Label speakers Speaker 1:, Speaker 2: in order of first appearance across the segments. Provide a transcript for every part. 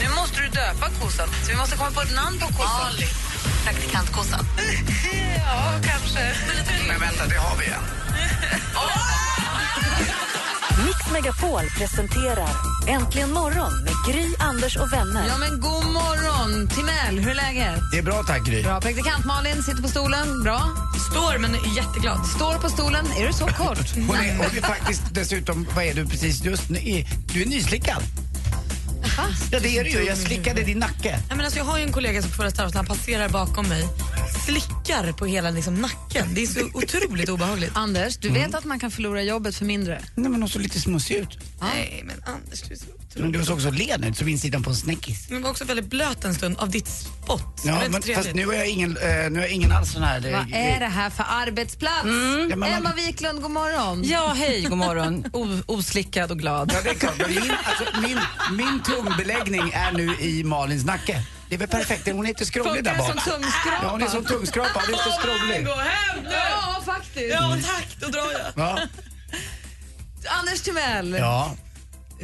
Speaker 1: Nu måste du döpa kossan, så vi måste komma på ett namn på kossan. Ali.
Speaker 2: Praktikantkossan.
Speaker 1: Ja, kanske. Men vänta, det har vi igen.
Speaker 2: Mix Megapol presenterar Äntligen morgon med Gry, Anders och vänner.
Speaker 1: Ja, men god morgon! Timell, hur är läget?
Speaker 3: Det är bra tack Gry.
Speaker 1: Bra. Praktikant Malin sitter på stolen. Bra. Står, men jätteglad. Står på stolen. Är du så kort?
Speaker 3: Hon är, hon är faktiskt dessutom, vad är du precis just nu? I- Du är nyslickad. Ja det är du ju, jag slickade din nacke.
Speaker 4: Nej, men alltså, jag har ju en kollega som föreställer att han passerar bakom mig, slickar på hela liksom, nacken. Det är så otroligt obehagligt.
Speaker 1: Anders, du
Speaker 3: Mm.
Speaker 1: vet att man kan förlora jobbet för mindre.
Speaker 3: Nej men hon såg lite smutsig ut.
Speaker 4: Nej, men Anders, du är så otroligt...
Speaker 3: Men Du såg så len ut, som insidan på en snäckis.
Speaker 4: Men var också väldigt blöt en stund av ditt spott. Det var
Speaker 3: Ja,
Speaker 4: inte
Speaker 3: men,
Speaker 4: trevligt.
Speaker 3: fast nu har jag ingen, eh, nu har jag ingen alls sån här... eh,
Speaker 1: Vad är det här för arbetsplats?
Speaker 3: Mm. Ja, men man-
Speaker 1: Emma Wiklund, god morgon.
Speaker 5: Ja, hej, god morgon. O- oslickad och glad.
Speaker 3: Ja, det är klart. Men Min, alltså, min, min tungbeläggning är nu i Malins nacke. Det är väl perfekt, hon är inte skrovlig
Speaker 1: Funkar
Speaker 3: där
Speaker 1: det
Speaker 3: bak.
Speaker 1: som
Speaker 3: Ja, hon är
Speaker 1: tungskrapa?
Speaker 3: som tungskrapa, hon är inte skrovlig.
Speaker 4: Gå hem nu!
Speaker 1: Ja, faktiskt.
Speaker 4: Ja, tack, då drar jag.
Speaker 3: Ja,
Speaker 1: Anders Timell.
Speaker 3: ja.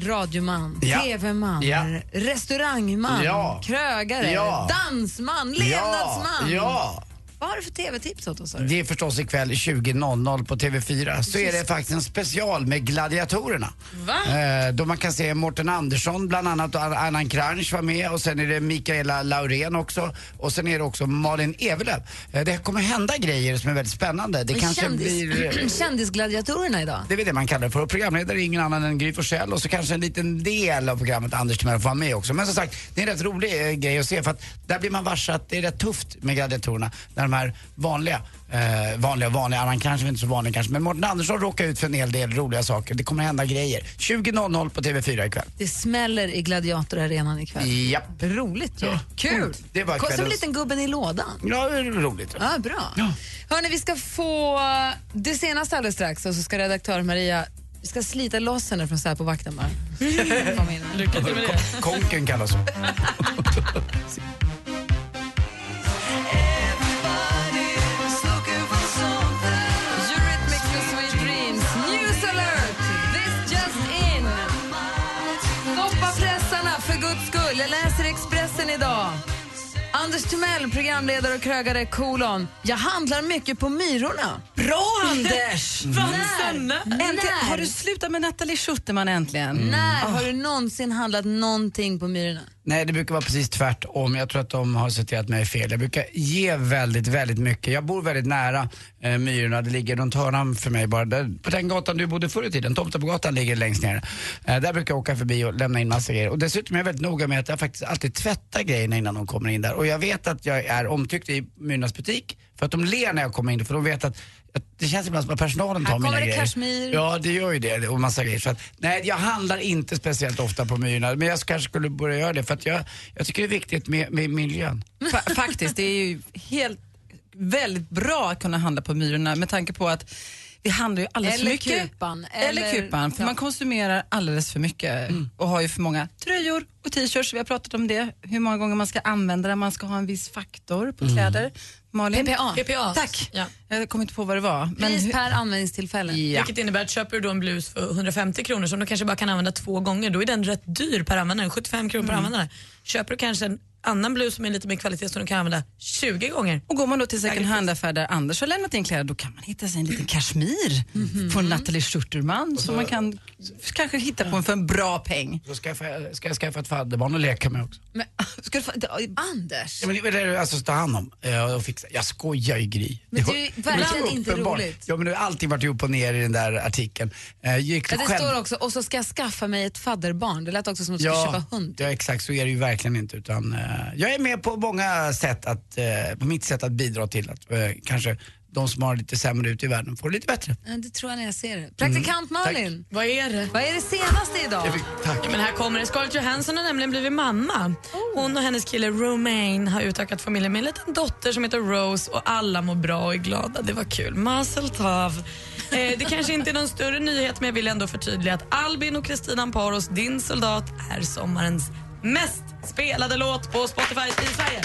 Speaker 1: radioman,
Speaker 3: Ja.
Speaker 1: tv-man,
Speaker 3: Ja.
Speaker 1: restaurangman,
Speaker 3: Ja.
Speaker 1: krögare,
Speaker 3: Ja.
Speaker 1: dansman,
Speaker 3: ja.
Speaker 1: levnadsman.
Speaker 3: ja.
Speaker 1: Vad har du för tv-tips åt oss? hörru?
Speaker 3: Det är förstås ikväll 20.00 på TV4. Så är det faktiskt en special med gladiatorerna.
Speaker 4: Va?
Speaker 3: Eh, då man kan se Morten Andersson bland annat och An- Annan Kranj var med och sen är det Mikaela Laurén också och sen är det också Malin Evelöv. Eh, det kommer hända grejer som är väldigt spännande. Det kanske blir...
Speaker 1: Kändisgladiatorerna idag.
Speaker 3: Det är väl det man kallar det för. Och programledare är ingen annan än Gry Forssell och så kanske en liten del av programmet Anders Timell får vara med också. Men som sagt, det är en rätt rolig eh, grej att se för att där blir man varse att det är rätt tufft med gladiatorerna. När de här vanliga, eh, vanliga, vanliga, annan kanske inte så vanlig kanske, men Morten Andersson råkar ut för en hel del roliga saker. Det kommer hända grejer. 20.00 på TV4 ikväll.
Speaker 1: Det smäller i gladiatorarenan ikväll.
Speaker 3: Japp.
Speaker 1: Roligt ju.
Speaker 3: Ja.
Speaker 1: Kul!
Speaker 3: Det var
Speaker 1: Kom som
Speaker 3: kvällens-
Speaker 1: liten gubben i lådan.
Speaker 3: Ja, det är roligt.
Speaker 1: Ja, Ah, bra. Hörni, vi ska få eh, det senaste alldeles strax och så ska redaktör Maria vi ska slita loss henne från Säpovakten bara. Kom in.
Speaker 4: Lycka till med det.
Speaker 3: Konken kallas hon.
Speaker 1: Eurythmics med Sweet Dreams. News alert! This just in! Stoppa pressarna, för guds skull. Jag läser Expressen idag. Anders Timell, programledare och krögare, kolon. Jag handlar mycket på Myrorna.
Speaker 5: Bra, Anders!
Speaker 1: När?
Speaker 5: Äntligen,
Speaker 1: När?
Speaker 5: har du slutat med Nathalie Schuterman äntligen? Ah.
Speaker 1: När har du någonsin handlat någonting på Myrorna?
Speaker 3: Nej, det brukar vara precis tvärtom. Jag tror att de har citerat mig fel. Jag brukar ge väldigt, väldigt mycket. Jag bor väldigt nära eh, Myrorna. Det ligger runt hörnan för mig bara. Där, på den gatan du bodde förr i tiden, Tomtebogatan, ligger längst ner. Eh, där brukar jag åka förbi och lämna in massa grejer. Och dessutom är jag väldigt noga med att jag faktiskt alltid tvättar grejerna innan de kommer in där. Och jag vet att jag är omtyckt i Myrornas butik för att de ler när jag kommer in. För de vet att att det känns ibland som att personalen tar
Speaker 1: Här kommer
Speaker 3: mina
Speaker 1: det
Speaker 3: grejer.
Speaker 1: kashmir.
Speaker 3: Ja, det gör ju det och massa grejer. Så att, nej, jag handlar inte speciellt ofta på Myrorna. Men jag kanske skulle börja göra det för att jag, jag tycker det är viktigt med, med miljön.
Speaker 5: Fa- faktiskt, det är ju helt, väldigt bra att kunna handla på Myrorna med tanke på att vi handlar ju alldeles
Speaker 1: Eller
Speaker 5: för mycket.
Speaker 1: Kupan,
Speaker 5: Eller,
Speaker 1: eller-
Speaker 5: Kupan. För
Speaker 1: ja.
Speaker 5: man konsumerar alldeles för mycket
Speaker 4: Mm.
Speaker 5: och har ju för många tröjor och t-shirts. Vi har pratat om det, hur många gånger man ska använda det. Man ska ha en viss faktor på
Speaker 4: Mm.
Speaker 5: kläder. Malin?
Speaker 1: PPA.
Speaker 4: PPA.
Speaker 5: Tack.
Speaker 4: Ja.
Speaker 5: Jag kommer inte på vad det var. men hur-
Speaker 1: Pris per användningstillfälle.
Speaker 5: Ja.
Speaker 4: Vilket innebär att köper du då en blus för 150 kronor som du kanske bara kan använda två gånger, då är den rätt dyr per användare, 75 kronor per
Speaker 3: Mm.
Speaker 4: användare. Köper du kanske en annan blus som är lite mer kvalitet som du kan använda 20 gånger,
Speaker 5: Och går man då till second hand-affär där Anders har lämnat in kläder, då kan man hitta sig en liten kashmir
Speaker 1: Mhm.
Speaker 5: från Nathalie Schurterman som man kan kanske hitta på en för en bra peng.
Speaker 3: Då ska jag, fa- ska jag skaffa ett fadderbarn och leka med också.
Speaker 1: Men,
Speaker 5: Ska du få, det- oj,
Speaker 1: Anders,
Speaker 3: Ja, men det är det alltså ta hand om eh, och fixa. Jag skojar ju Gry.
Speaker 1: Men
Speaker 3: Det
Speaker 1: det är ju
Speaker 3: var- det var så
Speaker 1: verkligen inte
Speaker 3: uppenbart.
Speaker 1: roligt.
Speaker 3: Ja men det har alltid varit upp och ner i den där artikeln. Eh, gick
Speaker 1: ja, det
Speaker 3: själv-
Speaker 1: står också, och så ska jag skaffa mig ett fadderbarn. Det lät också som att du skulle
Speaker 3: Ja,
Speaker 1: köpa hund.
Speaker 3: ja, exakt så är det ju verkligen inte. Utan, eh, jag är med på många sätt, att, eh, på mitt sätt att bidra till att eh, kanske de som har det lite sämre ute i världen får det lite bättre.
Speaker 1: Ja, Det tror jag när jag ser det. Praktikant Malin,
Speaker 4: Vad är det?
Speaker 1: vad är det senaste idag?
Speaker 3: Mm. Jag fick, tack.
Speaker 4: Ja, men här kommer det. Scarlett Johansson har nämligen blivit mamma. Hon och hennes kille Romain har utökat familjen med en liten dotter som heter Rose och alla mår bra och är glada. Det var kul. Mazel tov. Eh, det kanske inte är någon större nyhet men jag vill ändå förtydliga att Albin och Kristina Amparos, din soldat, är sommarens mest spelade låt på Spotify i Sverige.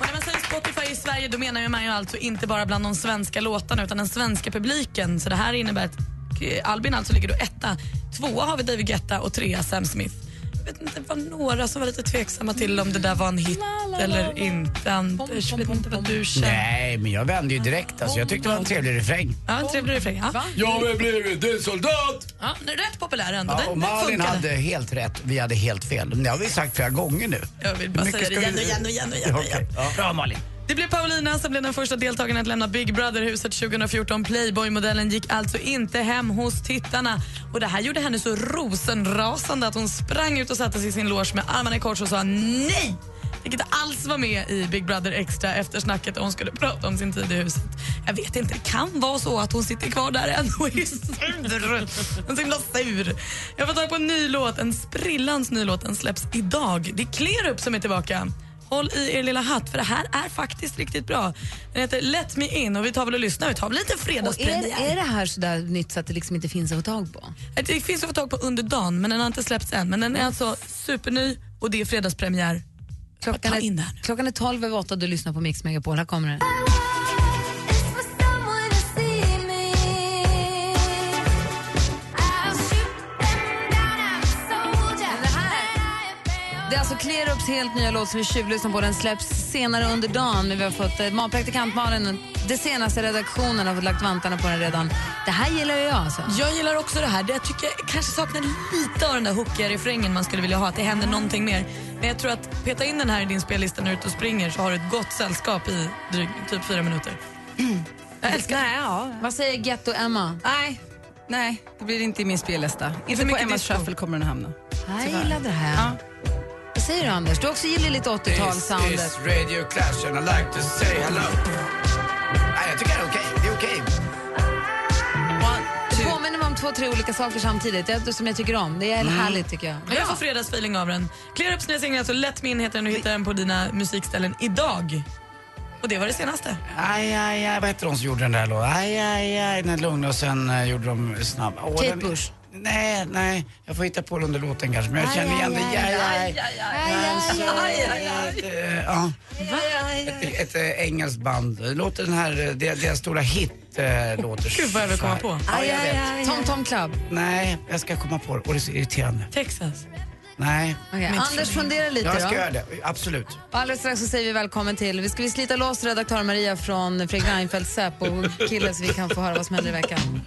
Speaker 4: Och när man säger Spotify i Sverige då menar ju man ju alltså inte bara bland de svenska låtarna utan den svenska publiken. Så det här innebär att eh, Albin alltså ligger då etta. Tvåa har vi David Guetta och trea Sam Smith. Jag vet inte, det var några som var lite tveksamma till om det där var en hit eller inte. Anders, jag vet inte vad du känner.
Speaker 3: Nej, men jag vände ju direkt. Alltså, jag tyckte det var en trevlig refräng.
Speaker 4: Ja, en trevlig refräng. Ja.
Speaker 3: Jag har blivit en soldat!
Speaker 4: Ja, den är rätt populär ändå.
Speaker 3: Ja,
Speaker 4: Den,
Speaker 3: och
Speaker 4: den
Speaker 3: Malin
Speaker 4: funkade.
Speaker 3: hade helt rätt, vi hade helt fel. Men Det har vi sagt flera gånger nu.
Speaker 4: Jag vill bara
Speaker 3: Mycket
Speaker 4: säga det
Speaker 3: ska
Speaker 4: igen och
Speaker 3: vi-
Speaker 4: igen och igen och igen. Och igen.
Speaker 3: Okej. Ja. Bra Malin.
Speaker 4: Det blev Paulina som blev den första deltagaren att lämna Big Brother-huset 2014. Playboy-modellen gick alltså inte hem hos tittarna. Och Det här gjorde henne så rosenrasande att hon sprang ut och satte sig i sin loge med armarna i kors och sa nej! Vilket alls var med i Big Brother Extra efter snacket där hon skulle prata om sin tid i huset. Jag vet inte, det kan vara så att hon sitter kvar där än och är sur. Hon är så himla sur. Jag får tag på en ny låt, en sprillans ny låt. Den släpps idag. Det är Klerup som är tillbaka. Håll i er lilla hatt, för det här är faktiskt riktigt bra. Den heter Let Me In och vi tar väl och lyssnar. Vi tar väl lite
Speaker 1: Och är, är
Speaker 4: fredagspremiär.
Speaker 1: det här sådär nytt så att det liksom inte finns att få tag på?
Speaker 4: Det finns att få tag på under dagen, men den har inte släppts än. Men den är alltså superny och det är fredagspremiär.
Speaker 1: Klockan
Speaker 4: Ta in det här nu.
Speaker 1: är, klockan är 12 över 8 och du lyssnar på Mix Megapol. Här kommer den. Det är alltså Klerups helt nya låt som vi tjuvlyssnar på. Den släpps senare under dagen. Men vi har fått eh, praktikant Malin, det senaste redaktionen, har fått lagt vantarna på den redan. Det här gillar ju jag alltså.
Speaker 4: Jag gillar också det här. Det jag tycker jag kanske saknar lite av den där hookiga refrängen man skulle vilja ha, att det händer någonting mer. Men jag tror att peta in den här i din spellista när du är ute och springer så har du ett gott sällskap i dryg, typ fyra minuter. Jag älskar det.
Speaker 5: Nej, ja.
Speaker 1: Vad säger Ghetto Emma?
Speaker 5: Nej, nej, det blir inte i min spellista. Inte på
Speaker 4: mycket
Speaker 5: Emmas
Speaker 4: disco.
Speaker 5: shuffle kommer den hamna.
Speaker 1: Jag gillar det här. Vad säger du Anders? Du också gillar lite 80-talssoundet.
Speaker 3: radio clash and I like to say hello. Nej, jag tycker det är okej. Det är okej.
Speaker 1: Det påminner mig om två, tre olika saker samtidigt jag, som jag tycker om. Det
Speaker 3: Mm.
Speaker 1: är härligt tycker jag.
Speaker 4: Ja. Jag får fredagsfeeling av den. Clear Ups nya singel alltså Lätt min heter den och hittar den på dina musikställen idag. Och det var det senaste.
Speaker 3: Aj, aj, aj. Vad hette de som gjorde den där låten? Aj, aj, aj. Den lugna och sen eh, gjorde de snabb. Åh,
Speaker 1: Kate
Speaker 3: den-
Speaker 1: Bush.
Speaker 3: Nej, nej. Jag får hitta på den under låten kanske. Men jag
Speaker 1: Aj,
Speaker 3: känner igen
Speaker 1: aj,
Speaker 3: det. Aj, aj,
Speaker 4: aj, aj,
Speaker 3: Eh, Ja. Ett, ett eh, engelskt band. Låter den här, eh, deras deras stora hit eh, låter
Speaker 4: Gud, vad jag vill
Speaker 3: så här.
Speaker 4: komma på.
Speaker 3: Ja, jag vet.
Speaker 1: Tom Tom Club.
Speaker 3: Nej, jag ska komma på det. Och det är så irriterande.
Speaker 4: Texas.
Speaker 3: Nej.
Speaker 1: Okej, Anders fundera lite
Speaker 3: Jag ska
Speaker 1: då.
Speaker 3: göra det. Absolut.
Speaker 1: Alldeles strax så säger vi välkommen till. Vi ska vi slita loss redaktör Maria från Fredrik Reinfeldts Säpo-kille så vi kan få höra vad som händer i veckan.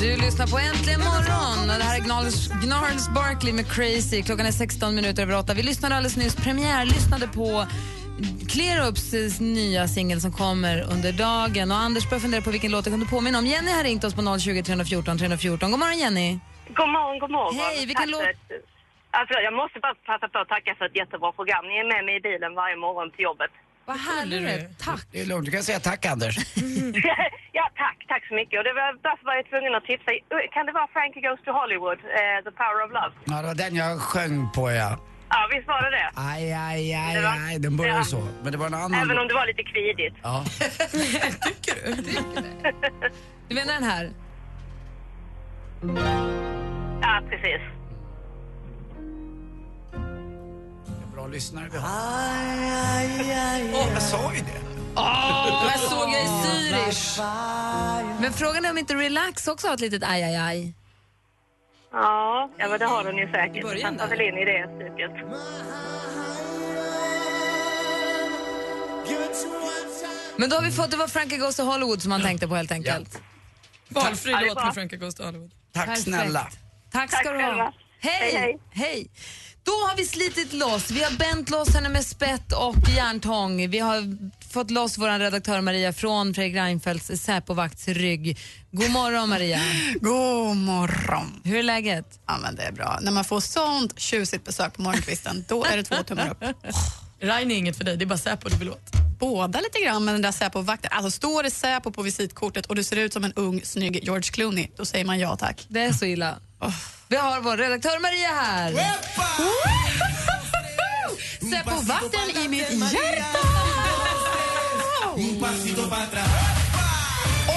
Speaker 1: Du lyssnar på Äntligen morgon. Och Det här är Gnarls, Gnarls Barkley med Crazy. Klockan är 16 minuter över 8. Vi lyssnade alldeles nyss, premiärlyssnade på Clearups nya singel som kommer under dagen. Och Anders börjar fundera på vilken låt det kunde påminna om. Jenny har ringt oss på 020 314 314. God morgon Jenny.
Speaker 6: God morgon, god morgon.
Speaker 1: Hej, vilken
Speaker 6: Tack
Speaker 1: låt-
Speaker 6: för ett- Ja, förlåt, jag måste bara passa på att tacka för ett jättebra program. Ni är med mig i bilen varje morgon till jobbet.
Speaker 1: Vad härligt. Tack.
Speaker 3: Det är lugnt. Du kan säga tack, Anders.
Speaker 6: ja, tack. Tack så mycket. Och det var därför var jag tvungen att tipsa. Kan det vara Frankie Goes to Hollywood, eh, The Power of Love?
Speaker 3: Ja, det var den jag sjöng på, ja.
Speaker 6: Ja, visst var det det?
Speaker 3: Aj, aj, aj,
Speaker 6: Det var-
Speaker 3: aj. Den började
Speaker 6: Ja.
Speaker 3: så. Men det var en annan
Speaker 6: Även
Speaker 3: låt.
Speaker 6: om det var lite kvidigt.
Speaker 3: Ja.
Speaker 1: Du menar den här?
Speaker 6: Ja, precis.
Speaker 3: Bra lyssnare vi har. Åh, jag sa ju det.
Speaker 1: Jag såg jag i Zürich. Men frågan är om inte Relax också har ett litet aj, aj, aj.
Speaker 6: Ja, ja men det har den ju säkert.
Speaker 4: början
Speaker 6: Det passar
Speaker 4: där.
Speaker 6: väl in i det typ. stycket.
Speaker 1: Men då har vi fått det var Frankie Goes to Hollywood som han tänkte på helt enkelt.
Speaker 4: Valfri
Speaker 6: Ja, det är
Speaker 4: låt
Speaker 6: bra.
Speaker 4: med Frankie Goes to Hollywood.
Speaker 3: Tack
Speaker 1: Perfekt.
Speaker 3: snälla.
Speaker 1: Tack ska
Speaker 6: Tack
Speaker 1: du ha.
Speaker 6: själva.
Speaker 1: Hej.
Speaker 6: Hej,
Speaker 1: hej!
Speaker 6: hej.
Speaker 1: Då har vi slitit loss. Vi har bänt loss henne med spett och järntång. Vi har fått loss vår redaktör Maria från Fredrik Reinfeldts Säpovakts rygg. God morgon Maria.
Speaker 7: God morgon.
Speaker 1: Hur är läget?
Speaker 7: Ja, men det är bra. När man får sånt tjusigt besök på morgonkvisten, då är det två tummar upp.
Speaker 4: Ryan är inget för dig, det är bara Säpo du vill åt.
Speaker 7: Båda lite grann med den där Säpo-vakten. Alltså står det Säpo på visitkortet och du ser ut som en ung snygg George Clooney, då säger man ja tack.
Speaker 1: Det är så illa.
Speaker 7: Oh.
Speaker 1: Vi har vår redaktör Maria här.
Speaker 7: Säpo-vakten i mitt hjärta!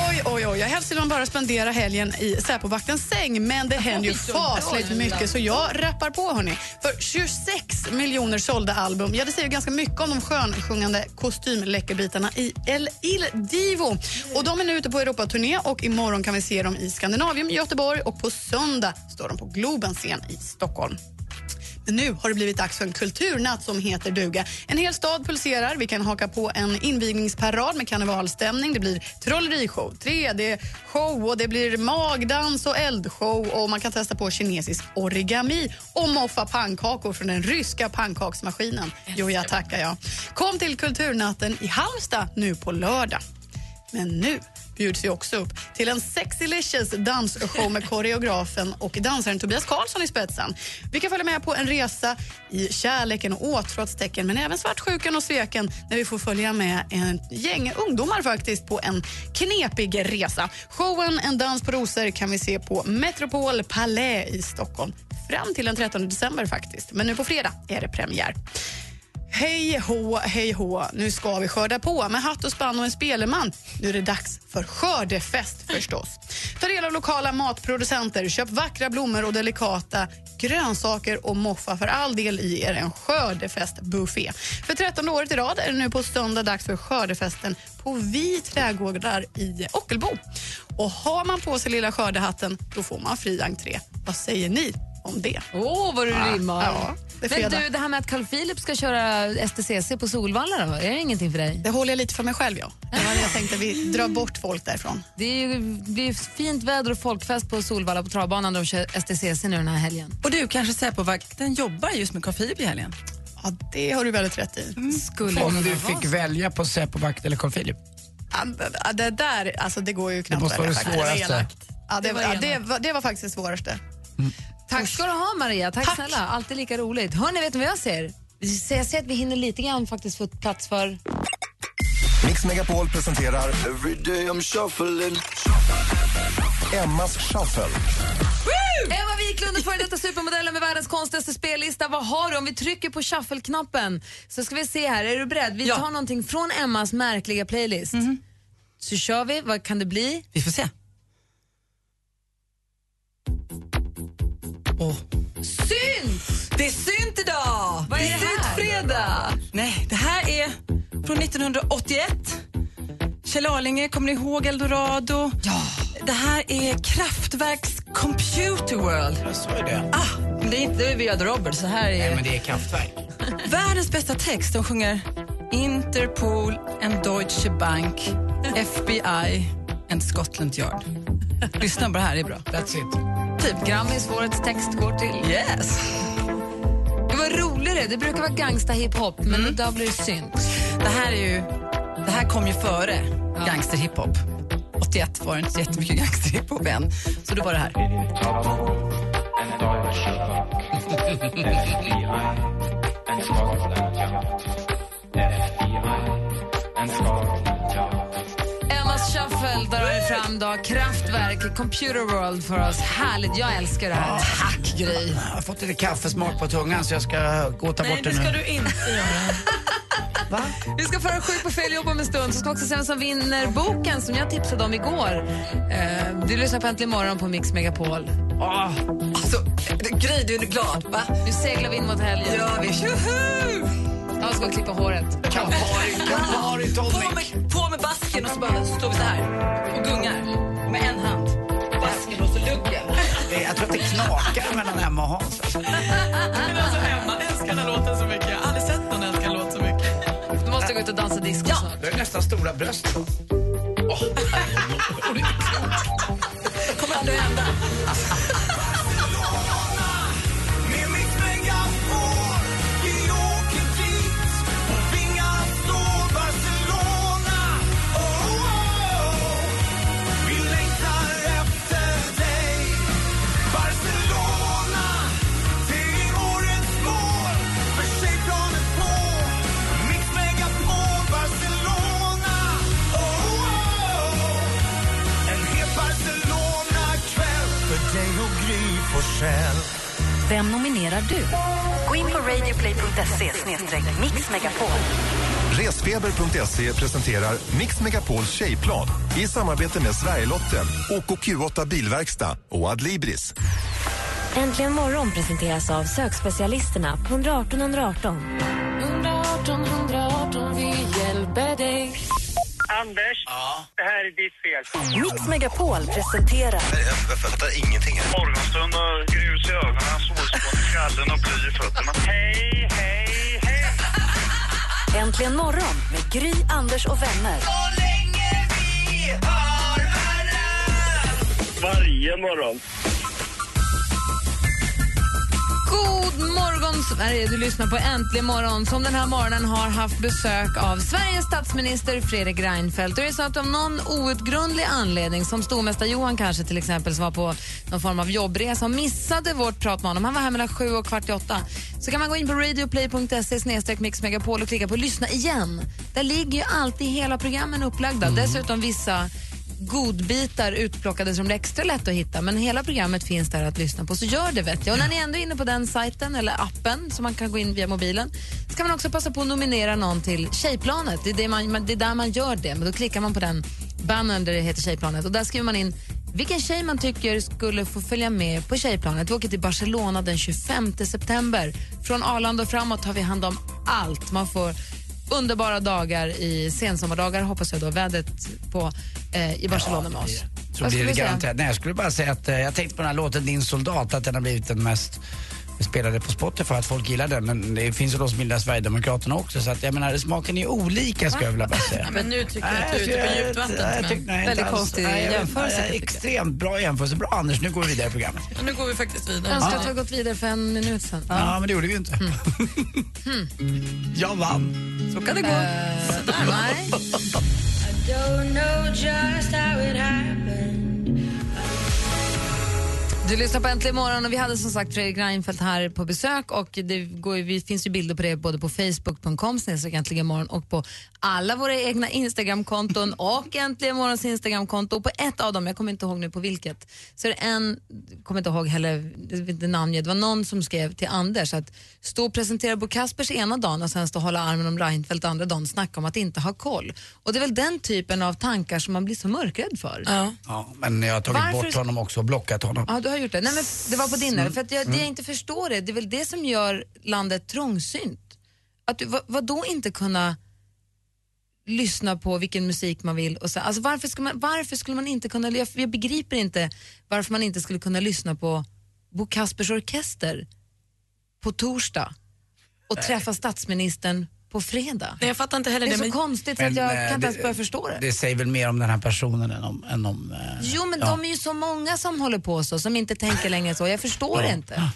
Speaker 7: Oj, oj, oj. Jag helst vill man bara spendera helgen i Säpovaktens säng, men det händer ju fasligt mycket så jag rappar på hörni. För 26 miljoner sålda album, ja det säger ju ganska mycket om de skönsjungande kostymläckerbitarna i El Il Divo. Och de är nu ute på Europaturné och imorgon kan vi se dem i Skandinavien, Göteborg och på söndag står de på Globens scen i Stockholm. Men nu har det blivit dags för en kulturnatt som heter duga. En hel stad pulserar. Vi kan haka på en invigningsparad med karnevalstämning. Det blir trollerishow, 3D-show och det blir magdans och eldshow och man kan testa på kinesisk origami och moffa pannkakor från den ryska pannkaksmaskinen. Jo, jag tackar jag. Kom till kulturnatten i Halmstad nu på lördag. Men nu bjuds vi också upp till en sexylicious dansshow med koreografen och dansaren Tobias Karlsson i spetsen. Vi kan följa med på en resa i kärleken och åtråts tecken men även svartsjukan och sveken när vi får följa med en gäng ungdomar faktiskt på en knepig resa. Showen En dans på rosor kan vi se på Metropol Palais i Stockholm fram till den 13 december faktiskt. Men nu på fredag är det premiär. Hej hå, hej hå, nu ska vi skörda på med hatt och spann och en speleman. Nu är det dags för skördefest förstås. Ta del av lokala matproducenter, köp vackra blommor och delikata grönsaker och moffa för all del i er en skördefestbuffé. För trettonde året i rad är det nu på söndag dags för skördefesten på Vi trädgårdar i Ockelbo. Och har man på sig lilla skördehatten, då får man fri entré. Vad säger ni om det?
Speaker 1: Åh, vad du rimmar.
Speaker 7: Ah, Ja, det är
Speaker 1: Men
Speaker 7: fredag.
Speaker 1: du, det här med att Carl Philip ska köra STCC på Solvalla då, är det ingenting för dig?
Speaker 7: Det håller jag lite för mig själv. Ja. Det var det jag tänkte, vi drar bort folk därifrån.
Speaker 1: Det är ju, det är ju fint väder och folkfest på Solvalla på travbanan där de kör STCC nu den här helgen.
Speaker 5: Och du, kanske Säpovakten jobbar just med Carl Philip i helgen?
Speaker 7: Ja, det har du väldigt rätt i.
Speaker 1: Skulle
Speaker 3: Om du fick välja på Säpovakt eller Carl Philip.
Speaker 7: Ja, d- ja, Det där, alltså det går ju knappt
Speaker 3: måste
Speaker 7: att välja
Speaker 3: vara det
Speaker 7: faktiskt.
Speaker 3: svåraste.
Speaker 7: var elakt. Ja, det, var, ja, det, var, det var faktiskt det svåraste.
Speaker 1: Tack ska du ha Maria, tack,
Speaker 7: Tack.
Speaker 1: snälla. Alltid lika roligt. Hörni, vet ni vad jag ser? Så jag ser att vi hinner lite grann faktiskt få plats för...
Speaker 8: Mix Megapol presenterar Every day I'm shuffling Emmas shuffle.
Speaker 1: Emma Wiklund, före detta supermodellen med världens konstigaste spellista. Vad har du? Om vi trycker på shuffle-knappen så ska vi se här. Är du beredd? Vi tar någonting från Emmas märkliga playlist. Så kör vi. Vad kan det bli?
Speaker 5: Vi får se. Åh,
Speaker 1: Synt!
Speaker 5: Det är synt idag!
Speaker 1: Vad är
Speaker 5: det
Speaker 1: det
Speaker 5: är
Speaker 1: här?
Speaker 5: syntfredag! Nej, det här är från 1981. Kjell Arlinge, kommer ni ihåg Eldorado? Ja. Det här är Kraftwerks Computer World.
Speaker 3: Så är det.
Speaker 5: Ah, men det är inte Viad Roberts, så här är
Speaker 3: det är kraftverk.
Speaker 5: världens bästa text. De sjunger Interpol and Deutsche Bank, FBI and Scotland Yard. Lyssna på det här, det är bra.
Speaker 3: That's it.
Speaker 1: Typ Grammis, årets text går till...
Speaker 5: Yes!
Speaker 1: Det var roligt det. Det brukar vara gangsta-hiphop, men idag blir det synt.
Speaker 5: Det här, är ju, det här kom ju före gangsterhiphop. 81 var det inte så jättemycket gangsterhiphop än. Så då var det här.
Speaker 1: Emmas shuffle där har vi fram då Kraftwerk, Computer World för oss. Härligt, jag älskar det här. Tack Gry.
Speaker 3: Jag har fått lite kaffesmak på tungan så jag ska gå och ta
Speaker 4: Nej,
Speaker 3: bort
Speaker 4: det
Speaker 3: den
Speaker 4: ska
Speaker 3: nu.
Speaker 4: du inte göra.
Speaker 1: Vi ska föra sjuk på fel jobb om en stund. Så ska vi också se vem som vinner boken som jag tipsade om igår. Eh, du lyssnar på Äntligen morgon på Mix Megapol.
Speaker 5: Oh, alltså, Gry, du är glad, va?
Speaker 1: Nu seglar vi in mot helgen.
Speaker 5: Ja, vi tjoho!
Speaker 1: Jag ska gå och klippa håret.
Speaker 3: Campari,
Speaker 5: På
Speaker 3: Campari tonic.
Speaker 5: med, på med basken och så bara står vi så här och gungar med en hand. Basken och så luggen.
Speaker 3: Det- Jag tror att det knakar mellan Emma och Hans. alltså.
Speaker 4: Men alltså, Emma älskar den här låten så mycket. Jag har aldrig sett någon älska en låt så mycket.
Speaker 1: Du måste
Speaker 5: Ah.
Speaker 1: jag gå ut och dansa disco snart.
Speaker 3: Du har nästan stora bröst.
Speaker 5: kommer aldrig hända.
Speaker 8: Mix Megapol. Gry Forssell.
Speaker 2: Vem nominerar du? Gå in på radioplay.se mixmegapol.
Speaker 8: Resfeber.se E presenterar Mix Megapols tjejplan i samarbete med Sverigelotten, OKQ8 Bilverkstad och Adlibris.
Speaker 2: Äntligen morgon presenteras av sökspecialisterna på 118 118.
Speaker 9: 118 118, vi hjälper dig.
Speaker 6: Anders, det här är ditt fel.
Speaker 2: Mix Megapol presenterar
Speaker 8: Jag fattar ingenting.
Speaker 10: Morgonstund och grus i ögonen, solspån i skallen och bly i fötterna. Hej, hej, hej!
Speaker 2: Äntligen morgon med Gry, Anders och vänner.
Speaker 10: Varje morgon.
Speaker 1: God morgon, Sverige! Du lyssnar på Äntligen morgon som den här morgonen har haft besök av Sveriges statsminister Fredrik Reinfeldt. Och det är så att om någon outgrundlig anledning, som stormästare Johan kanske till exempel som var på någon form av jobbresa och missade vårt prat med honom, han var här mellan sju och kvart i åtta, så kan man gå in på radioplay.se mixmegapol och klicka på lyssna igen. Där ligger ju alltid hela programmen upplagda. Dessutom vissa godbitar utplockade som blir extra lätt att hitta. Men hela programmet finns där att lyssna på, så gör det vet jag. Och när ni ändå är inne på den sajten eller appen som man kan gå in via mobilen så kan man också passa på att nominera någon till Tjejplanet. Det är, det man, man- det är där man gör det. Men då klickar man på den bannern där det heter Tjejplanet och där skriver man in vilken tjej man tycker skulle få följa med på tjejplanet. Vi åker till Barcelona den 25 september. Från Arlanda och framåt tar vi hand om allt. Man får underbara dagar i sensommardagar hoppas jag då vädret på eh, i Barcelona med oss.
Speaker 3: Så
Speaker 1: Vad
Speaker 3: blir
Speaker 1: skulle
Speaker 3: det
Speaker 1: du säga?
Speaker 3: garanterat. Nej, jag skulle bara säga att eh, jag tänkte på den här låten Din soldat, att den har blivit den mest spelade på Spotify, att folk gillar den. Men det finns ju de som gillar Sverigedemokraterna också, så att jag menar, smaken är olika skulle jag vilja bara säga.
Speaker 4: Men nu tycker jag att du är ute på
Speaker 3: Nej,
Speaker 4: djupt vatten.
Speaker 3: jag
Speaker 4: men-
Speaker 3: tycker- nej, inte alls. Nej, jag- nej, Extremt bra jämförelse. Bra Anders, nu går vi vidare i programmet.
Speaker 4: Men nu går vi faktiskt vidare.
Speaker 1: Jag önskar att vi har gått vidare för en minut sedan.
Speaker 3: Ja, men det gjorde vi ju inte. jag vann. Så
Speaker 1: kan det gå.
Speaker 11: Mm.
Speaker 9: nej.
Speaker 1: Du lyssnar på Äntligen morgon och vi hade som sagt Fredrik Reinfeldt här på besök och det går, ju- vi finns ju bilder på det både på facebook.com snedstreck äntligen morgon och på alla våra egna Instagramkonton och Äntligen morgons Instagramkonto. Och På ett av dem, jag kommer inte ihåg nu på vilket, så är det en, kommer inte ihåg heller det är inte namngivet, det var någon som skrev till Anders att stå och presentera Bo Kaspers ena dagen och sen stå och hålla armen om Reinfeldt andra dagen snacka om att inte ha koll. Och det är väl den typen av tankar som man blir så mörkrädd för.
Speaker 3: Ja, men jag har tagit
Speaker 1: Varför-
Speaker 3: bort honom också och blockat honom.
Speaker 1: Ja, du har gjort det. Nej, men det var på din
Speaker 3: Mm.
Speaker 1: eller? För att jag, det jag inte förstår är, det är väl det som gör landet trångsynt. Att du, vad, då inte kunna lyssna på vilken musik man vill och så, alltså varför, ska man, varför skulle man inte kunna, jag, jag begriper inte varför man inte skulle kunna lyssna på Bo Kaspers orkester på torsdag och träffa statsministern på fredag.
Speaker 4: Nej, jag fattar inte heller
Speaker 1: det. är
Speaker 4: det,
Speaker 1: så
Speaker 4: men-
Speaker 1: konstigt så att jag
Speaker 3: eh,
Speaker 1: kan inte ens börja förstå det.
Speaker 3: Det säger väl mer om den här personen än om... Än om eh,
Speaker 1: Jo, men
Speaker 3: ja.
Speaker 1: de är ju så många som håller på så, som inte tänker längre så. Jag förstår
Speaker 3: Ja.
Speaker 1: inte.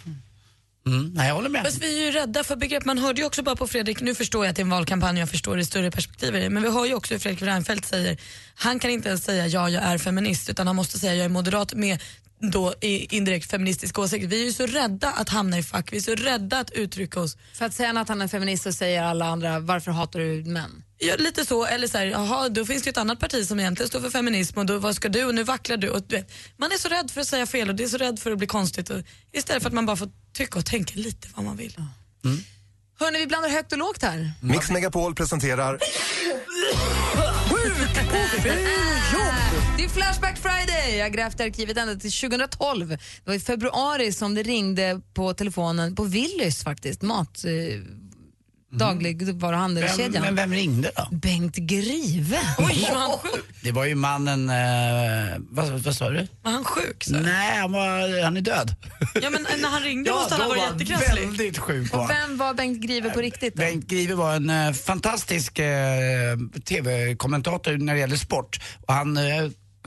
Speaker 3: Mm, nej, jag håller med.
Speaker 4: Fast vi är ju rädda för begrepp. Man hörde ju också bara på Fredrik, nu förstår jag att det är en valkampanj och jag förstår det större perspektivet men vi hör ju också hur Fredrik Reinfeldt säger, han kan inte ens säga ja, jag är feminist, utan han måste säga jag är moderat med då i indirekt feministisk åsikt. Vi är ju så rädda att hamna i fack, vi är så rädda att uttrycka oss.
Speaker 1: För att säga att han är feminist så säger alla andra, varför hatar du män?
Speaker 4: Ja, lite så, eller så här, jaha, då finns det ju ett annat parti som egentligen står för feminism och då, vad ska du och nu vacklar du. Och, du vet, man är så rädd för att säga fel och det är så rädd för att bli konstigt och, istället för att man bara får tycka och tänka lite vad man vill.
Speaker 1: Hörni, vi blandar högt och lågt här.
Speaker 8: Mix Megapol presenterar
Speaker 1: Det är Flashback Friday. Jag har grävt i arkivet ända till 2012. Det var i februari som det ringde på telefonen på Willys faktiskt, mat... Eh,
Speaker 3: Vem,
Speaker 1: dagligvaruhandelskedjan.
Speaker 3: Mhm. men vem ringde då?
Speaker 1: Bengt Grive.
Speaker 3: Det var ju mannen... Eh, vad, vad sa du?
Speaker 4: Var han sjuk?
Speaker 3: Nej, han, var, han är död.
Speaker 4: Ja, men eh, när han ringde måste han ha
Speaker 3: då
Speaker 4: varit
Speaker 3: var han
Speaker 4: jättekrasslig.
Speaker 3: väldigt sjuk. var
Speaker 1: Och
Speaker 3: han.
Speaker 1: vem var Bengt Grive på riktigt?
Speaker 3: Bengt Grive var en eh, fantastisk eh, TV-kommentator när det gäller sport. Och han eh,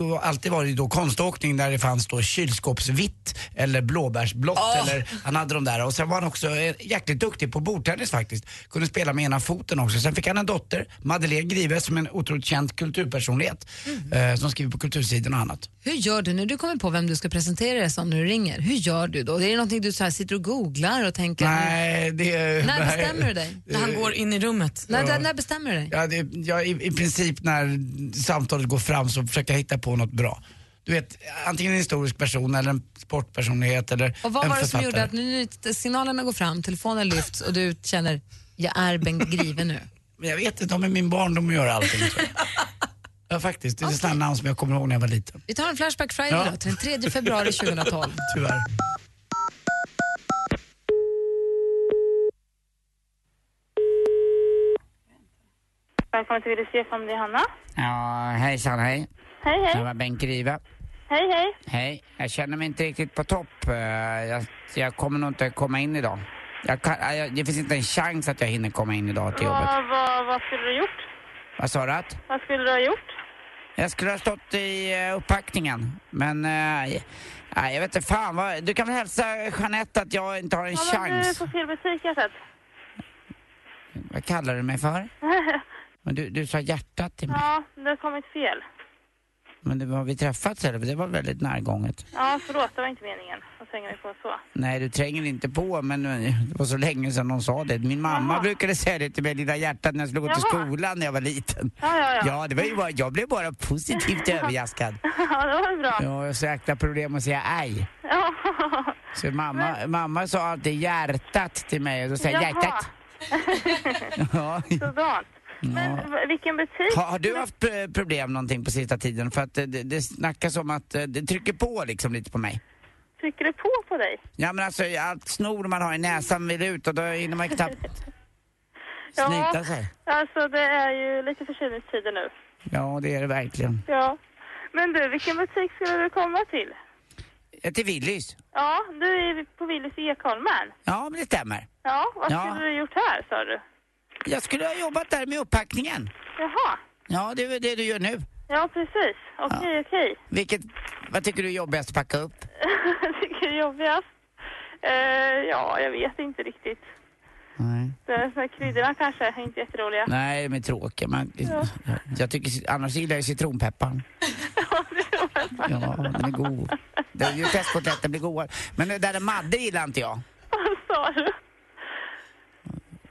Speaker 3: har alltid varit då konståkning där det fanns då kylskåpsvitt eller blåbärsblått. Eller, han hade de där. Och sen var han också eh, jäkligt duktig på bordtennis faktiskt. Kunde spela med ena foten också. Sen fick han en dotter, Madeleine Grive, som är en otroligt känd kulturpersonlighet.
Speaker 1: Mhm.
Speaker 3: Eh, som skriver på kultursidan och annat.
Speaker 1: Hur gör du när du kommer på vem du ska presentera dig som när du ringer? Hur gör du då? Är det någonting du så här sitter och googlar och tänker?
Speaker 3: Nej, det är...
Speaker 1: När
Speaker 3: nej.
Speaker 1: bestämmer du dig?
Speaker 3: När han går
Speaker 4: in i rummet.
Speaker 1: När,
Speaker 3: Ja.
Speaker 1: när bestämmer du dig?
Speaker 3: Ja, det, ja, i, I princip när samtalet går fram så försöker jag hitta på något bra.
Speaker 5: du vet, antingen en historisk person eller en sportpersonlighet eller
Speaker 1: Och vad
Speaker 5: en
Speaker 1: var det som
Speaker 5: författare.
Speaker 1: gjorde att nu, nu signalerna går fram, telefonen lyfts och du känner jag är Bengt Grive nu?
Speaker 5: Men jag vet inte, med min barndom att göra allting tror jag. Ja faktiskt, det är sådana namn som jag kommer ihåg när jag var liten.
Speaker 1: Vi tar en Flashback Friday
Speaker 5: Ja.
Speaker 1: då, till den 3 februari 2012.
Speaker 5: Tyvärr.
Speaker 12: Välkommen till Willys Stefan, det är Hanna.
Speaker 3: Ja, hejsan hej.
Speaker 12: Hej,
Speaker 3: Det
Speaker 12: hej.
Speaker 3: var Bengt Grive.
Speaker 12: Hej, hej.
Speaker 3: Hej. Jag känner mig inte riktigt på topp. Eh, Jag, jag kommer nog inte komma in idag. Jag kan, eh, jag, det finns inte en chans att jag hinner komma in idag till jobbet.
Speaker 12: Vad, vad, vad skulle du ha gjort?
Speaker 3: Vad sa du att?
Speaker 12: Vad skulle du ha gjort?
Speaker 3: Jag skulle ha stått i eh, upppackningen. Men eh, nej, jag vet inte fan. Vad, du kan väl hälsa Jeanette att jag inte har en
Speaker 12: ja, men du är
Speaker 3: chans.
Speaker 12: på fel butik jag har sett.
Speaker 3: Vad kallar du mig för? Men du, du sa hjärtat till mig.
Speaker 12: ja, det har kommit fel.
Speaker 3: Men det, har vi träffats eller? Det var väldigt närgånget.
Speaker 12: Ja, förlåt, det var inte meningen att tränga mig på så.
Speaker 3: Nej, du tränger inte på, men eh, det var så länge sedan hon sa det. Min mamma brukade säga det till mig, lilla hjärtat, när jag skulle gå till
Speaker 12: Jaha.
Speaker 3: skolan när jag var liten.
Speaker 12: Ja, ja, ja.
Speaker 3: det var ju bara, jag blev bara positivt överraskad.
Speaker 12: Ja, det var ju bra.
Speaker 3: Jag har så jäkla problem att säga aj.
Speaker 12: Ja.
Speaker 3: Så mamma, mamma sa alltid hjärtat till mig och då sa jag
Speaker 12: Jaha.
Speaker 3: hjärtat. Ja.
Speaker 12: Sådant. Men v- vilken butik?
Speaker 3: Har, har du haft eh, problem någonting på sista tiden? För att eh, det, det snackas om att eh, det trycker på liksom lite på mig.
Speaker 12: Trycker du på på dig?
Speaker 3: Ja men alltså allt snor man har i näsan vill ut och då hinner man knappt snyta sig.
Speaker 12: alltså det är ju lite förkylningstider nu.
Speaker 3: Ja, det är det verkligen.
Speaker 12: Ja. Men du, vilken butik skulle du komma till?
Speaker 3: Eh, Till Willys?
Speaker 12: Ja, du är på Willys i Ekholmen.
Speaker 3: Ja, men det stämmer.
Speaker 12: Ja, vad
Speaker 3: Ja.
Speaker 12: skulle du ha gjort här sa du?
Speaker 3: Jag skulle ha jobbat där med upppackningen.
Speaker 12: Jaha,
Speaker 3: Ja, det är väl det du gör nu.
Speaker 12: ja precis. Okej, okej.
Speaker 3: Vilket, vad tycker du är jobbigast att packa upp?
Speaker 12: Jag tycker det är jobbigast? Eh, ja, jag vet inte riktigt.
Speaker 3: Nej.
Speaker 12: Det är såna här kryddorna kanske är inte jätteroliga.
Speaker 3: Nej, de är tråkiga. Men
Speaker 12: Ja.
Speaker 3: jag tycker, annars gillar jag citronpepparn. Ja, den är god. Det är ju festkotletten blir godare. Men det där med madde gillar inte jag.
Speaker 12: Vad sa du?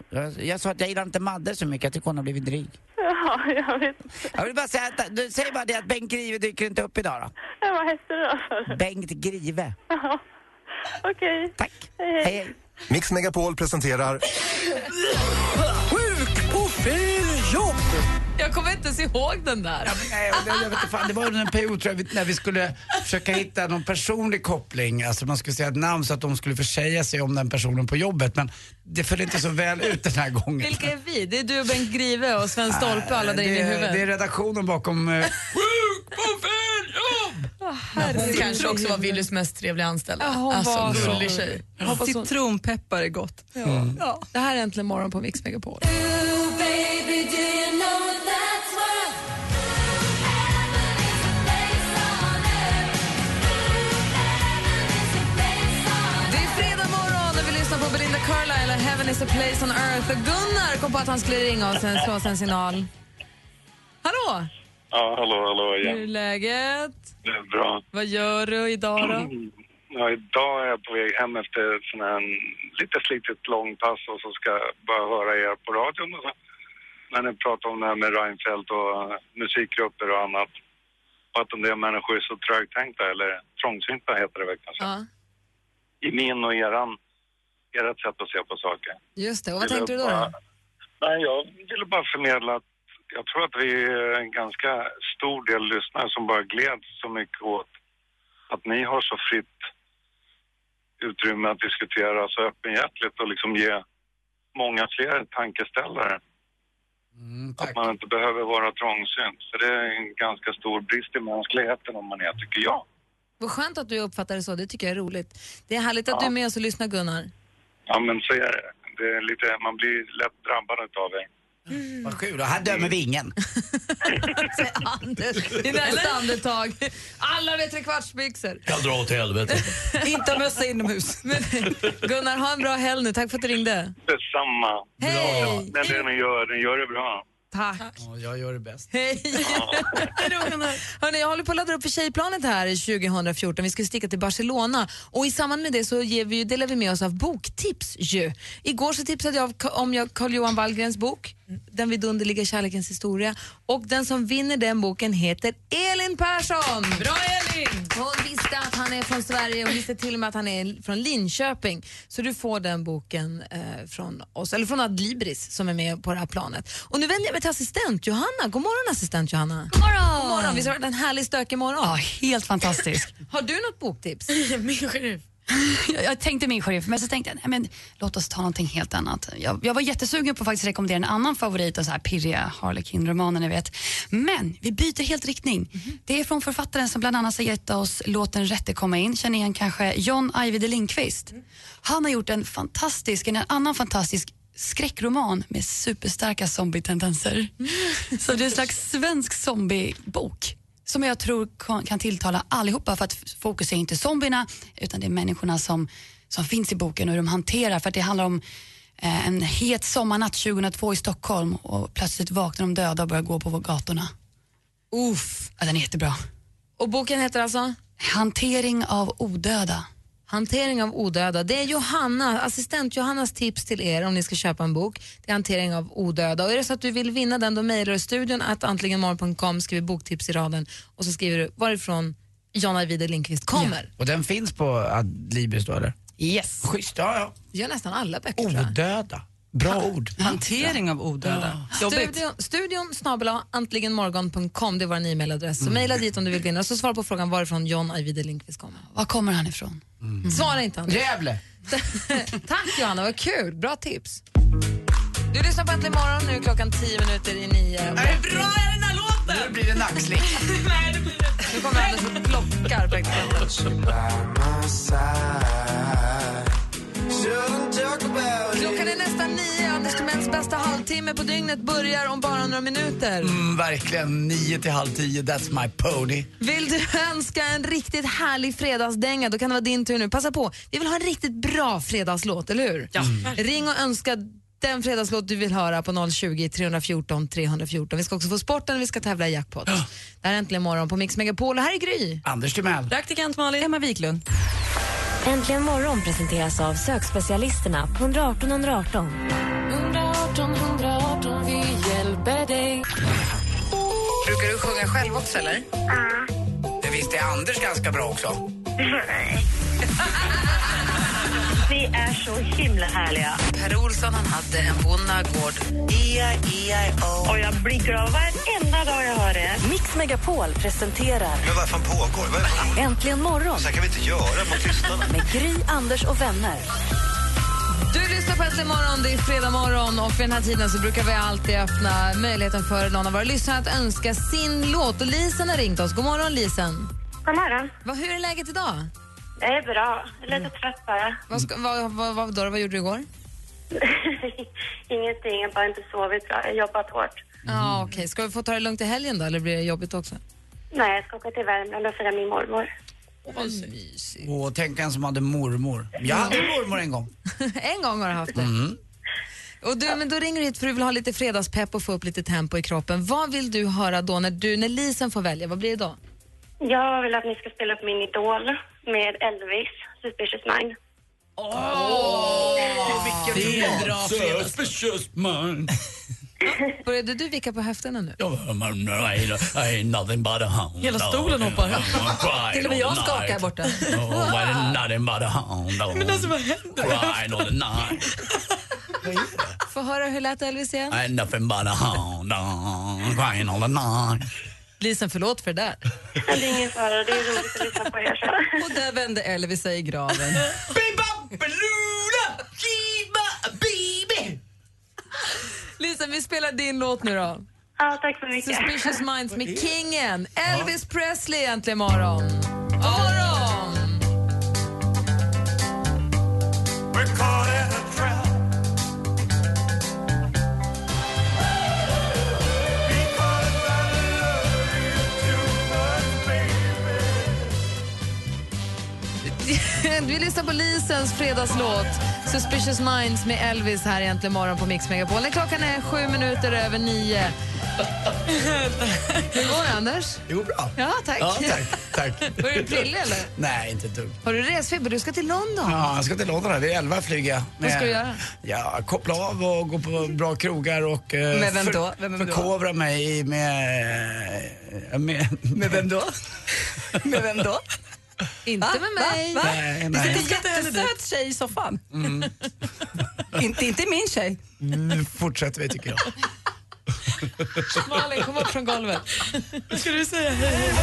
Speaker 3: jag. Jag sa att jag gillar inte madde så mycket. Jag tycker hon har blivit dryg.
Speaker 12: Ja, jag vet inte.
Speaker 3: Jag vill bara säga att, du säger bara det att Bengt Grive dyker inte upp idag då.
Speaker 12: Eh, Vad hette du då sa du?
Speaker 3: Bengt Grive.
Speaker 12: Ja. Okej. Tack. Hej, hej.
Speaker 8: Mix Megapol presenterar...
Speaker 13: Sjuk på fel jobb! Jag kommer inte ens ihåg den där.
Speaker 5: Nej, och det, jag vet inte fan, det var under en period tror jag, vi- när vi skulle försöka hitta någon personlig koppling, alltså man skulle säga ett namn så att de skulle försäga sig om den personen på jobbet men det föll inte så väl ut den här gången.
Speaker 4: Vilka är vi? Det är du, Bengt Grive och Sven Stolpe och alla
Speaker 5: det,
Speaker 4: där inne i huvudet.
Speaker 5: det är redaktionen bakom... eh,
Speaker 4: Hon kanske också var Willys mest trevliga anställda.
Speaker 5: Ja, hon
Speaker 4: alltså,
Speaker 5: var så-
Speaker 4: gullig tjej.
Speaker 5: Jag hoppas hon-
Speaker 4: Citronpeppar är gott. Ja. Det här är Äntligen morgon på Mix Megapol.
Speaker 13: Det är fredag morgon och vi lyssnar på Belinda Carlisle och Heaven is a place on earth. Och Gunnar kom på att han skulle ringa och sen slå oss en signal. Hallå!
Speaker 10: Ja, hallå, hallå
Speaker 4: Hur är
Speaker 10: igen.
Speaker 4: läget?
Speaker 10: Det är bra.
Speaker 4: Vad gör du idag då?
Speaker 10: Ja, idag är jag på väg hem efter ett sån här lite slitigt långpass och så ska jag bara höra er på radion och så. När ni pratar om det här med Reinfeldt och eh, musikgrupper och annat. Och att en del människor är så trögtänkta eller trångsynta heter det väl kanske.
Speaker 4: Ja.
Speaker 10: I min och eran, ert sätt att se på saker.
Speaker 1: Just det, och vad
Speaker 10: Ville
Speaker 1: tänkte du då?
Speaker 10: bara-
Speaker 1: då?
Speaker 10: Nej, jag ville bara förmedla att jag tror att vi är en ganska stor del lyssnare som bara gläds så mycket åt att ni har så fritt utrymme att diskutera så öppenhjärtligt och liksom ge många fler tankeställare. att man inte behöver vara trångsynt. För det är en ganska stor brist i mänskligheten om man är, tycker jag.
Speaker 1: Vad skönt att du uppfattar det så, det tycker jag är roligt. Det är härligt att du är med oss och lyssnar Gunnar.
Speaker 10: Ja, men så är det. det är lite, man blir lätt drabbad av det.
Speaker 5: Vad kul, och här dömer vi ingen.
Speaker 13: Säger Anders i nästa andetag. Alla med trekvartsbyxor.
Speaker 14: Jag drar åt helvete.
Speaker 13: Inte ha mössa inomhus. Men,
Speaker 4: Gunnar, ha en bra helg nu. Tack för att du ringde.
Speaker 10: Detsamma. Hej! Men det ni gör, ni gör det bra.
Speaker 4: Tack.
Speaker 5: jag gör det bäst.
Speaker 4: Hej!
Speaker 1: Hörrni, jag håller på att ladda upp för tjejplanet här 2014. Vi ska sticka till Barcelona och i samband med det så ger vi, ju- delar vi med oss av boktips ju. Igår så tipsade jag av- om jag Carl-Johan Wallgrens bok Den vidunderliga kärlekens historia. Och den som vinner den boken heter Elin Persson!
Speaker 14: Bra Elin!
Speaker 1: Hon visste att han är från Sverige och visste till och med att han är från Linköping. Så du får den boken eh, från oss, eller från Adlibris som är med på det här planet. Och nu vänder jag mig till assistent Johanna. God morgon assistent Johanna! God morgon! God morgon. Visst har det varit en härlig stökig morgon? Ja,
Speaker 15: helt fantastisk.
Speaker 1: har du något boktips?
Speaker 16: Min sheriff.
Speaker 15: jag, jag tänkte min sheriff, men så tänkte jag nej, men, låt oss ta någonting helt annat. Jag, jag var jättesugen på att faktiskt rekommendera en annan favorit, och så här pirriga Harlequin-romaner ni vet. Men vi byter helt riktning.
Speaker 16: Mhm.
Speaker 15: Det är från författaren som bland annat har gett oss låten Rätte komma in, känner igen kanske John Ajvide Lindqvist.
Speaker 16: Mm.
Speaker 15: Han har gjort en fantastisk, en annan fantastisk skräckroman med superstarka zombietendenser. Så det är en slags svensk zombiebok som jag tror kan- kan tilltala allihopa för att f- fokus är inte zombierna utan det är människorna som, som finns i boken och hur de hanterar för att det handlar om eh, en het sommarnatt 2002 i Stockholm och plötsligt vaknar de döda och börjar gå på gatorna. Uff. Ja, den är jättebra.
Speaker 1: Och boken heter alltså?
Speaker 15: Hantering av odöda.
Speaker 1: Hantering av odöda. Det är Johanna, assistent Johannas tips till er om ni ska köpa en bok. Det är hantering av odöda. Och är det så att du vill vinna den, då mejlar du studion att antligenmorgon.com, skriver boktips i raden och så skriver du varifrån John Ajvide Lindqvist kommer.
Speaker 3: Och den finns på Adlibris då eller?
Speaker 15: Yes.
Speaker 3: Schysst, ja ja.
Speaker 1: Det gör nästan alla böcker tror jag.
Speaker 3: Odöda. Bra ord.
Speaker 5: Hantering av odöda. Jobbigt.
Speaker 1: Studion, studion snabel-a antligenmorgon.com, det är vår e-mailadress. Så
Speaker 15: Mm.
Speaker 1: mejla dit om du vill vinna och så svara på frågan varifrån John Ajvide Lindqvist kommer.
Speaker 15: Var kommer han ifrån?
Speaker 1: Svara inte Anders.
Speaker 3: Gävle!
Speaker 1: Tack Johanna, vad kul. Bra tips. Du lyssnar på Äntligen morgon, nu är klockan 10 minuter i nio. Är det bra är den här låten? Nu blir det nackslick. Nej, det blir det Nu kommer Anders och plockar Klockan är nästan nio. Anders Timells bästa halvtimme på dygnet börjar om bara några minuter.
Speaker 3: Mm, verkligen, nio till halv tio, that's my pony.
Speaker 1: Vill du önska en riktigt härlig fredagsdänga, då kan det vara din tur nu. Passa på. Vi vill ha en riktigt bra fredagslåt, eller hur? Ja. Ring och önska den fredagslåt du vill höra på 020 314 314. Vi ska också få sporten och vi ska tävla i jackpot. Det här är Äntligen morgon på Mix Megapol och här är Gry.
Speaker 3: Anders Timell.
Speaker 1: Praktikant Malin. Emma Wiklund.
Speaker 2: Äntligen morgon presenteras av sökspecialisterna på 118 118.
Speaker 9: 118 118, vi hjälper dig.
Speaker 14: Brukar du sjunga själv också eller?
Speaker 3: Det visste Anders ganska bra också.
Speaker 14: Vi är så himla härliga.
Speaker 1: Per Olsson han hade en bonnagård. E-I-E-I-O.
Speaker 14: Och jag blir glad varenda dag jag hör det.
Speaker 2: Mix Megapol presenterar
Speaker 10: Men vad fan pågår? Vad
Speaker 2: Äntligen morgon
Speaker 10: kan vi inte göra mot tystnaden.
Speaker 2: med Gry, Anders och vänner.
Speaker 1: Du lyssnar på Äntligen morgon, det är fredag morgon och vid den här tiden så brukar vi alltid öppna möjligheten för någon av våra lyssnare att önska sin låt. Och Lisen har ringt oss. God morgon Lisen.
Speaker 6: God morgon.
Speaker 1: Vad, hur är läget idag?
Speaker 6: Det är bra. Lite trött bara.
Speaker 1: Vad, ska, vad, vad, vad, då, vad gjorde du igår?
Speaker 6: Ingenting, jag har bara inte sovit bra. Jag har jobbat hårt.
Speaker 1: Ja, okej. Ska vi få ta det lugnt i helgen då, eller blir det jobbigt också?
Speaker 6: Nej, jag ska åka till Värmland och fira min mormor.
Speaker 3: Och tänk en som hade mormor. Jag hade mormor en gång.
Speaker 1: en gång har du haft det.
Speaker 3: Mm.
Speaker 1: Och du, men då ringer du hit för du vill ha lite fredagspepp och få upp lite tempo i kroppen. Vad vill du höra då när du, när Lisen får välja? Vad blir det då?
Speaker 6: Jag vill att ni ska spela upp min idol med Elvis, Suspicious Mind.
Speaker 14: Åh, vilken bra fredag.
Speaker 3: Suspicious man.
Speaker 1: Började du vicka på höfterna nu?
Speaker 14: I ain't nothing but a hound.
Speaker 1: Hela stolen hoppar. Till och med jag skakar här borta.
Speaker 14: Oh, nothing but a hound.
Speaker 1: Men alltså, vad händer?
Speaker 14: Crying all the night.
Speaker 1: Få höra hur lät Elvis igen.
Speaker 14: I ain't nothing but a hound. Crying all the night.
Speaker 1: Lisen, förlåt för det där.
Speaker 6: Det är ingen fara, det är roligt att lyssna på er. Så.
Speaker 1: Och där vände Elvis sig i graven. Lisen, vi spelar din låt nu då.
Speaker 6: Ja, tack så mycket.
Speaker 1: Suspicious Minds med Kingen. Elvis Presley äntligen morgon. God morgon! Vi sista polisens fredagslåt Suspicious Minds med Elvis här egentligen morgon på Mix Megapol. När Klockan är sju minuter över nio. Hur går det, Anders?
Speaker 3: Jo, bra.
Speaker 1: Ja, tack.
Speaker 3: Ja, tack, tack.
Speaker 1: Var du prillig, eller?
Speaker 3: Nej, inte ett dugg.
Speaker 1: Har du resfeber? Du ska till London.
Speaker 3: Ja, jag ska till London här. Det är elva flyg jag.
Speaker 1: Vad ska du
Speaker 3: Men-
Speaker 1: göra?
Speaker 3: Ja, koppla av och gå på bra krogar och eh,
Speaker 1: Med vem
Speaker 3: för-
Speaker 1: då? Vem är du då?
Speaker 3: förkovra mig i- med, med... Med vem då?
Speaker 5: Med vem då?
Speaker 1: Inte
Speaker 5: Va?
Speaker 1: med
Speaker 5: Va?
Speaker 1: mig.
Speaker 5: Va?
Speaker 3: Nej,
Speaker 5: Det
Speaker 3: nej.
Speaker 5: sitter en jättesöt tjej i soffan.
Speaker 3: Mm.
Speaker 5: inte, inte min tjej.
Speaker 3: Nu fortsätter vi tycker jag.
Speaker 1: Malin, kom upp från golvet.
Speaker 4: Vad ska du säga? Hej.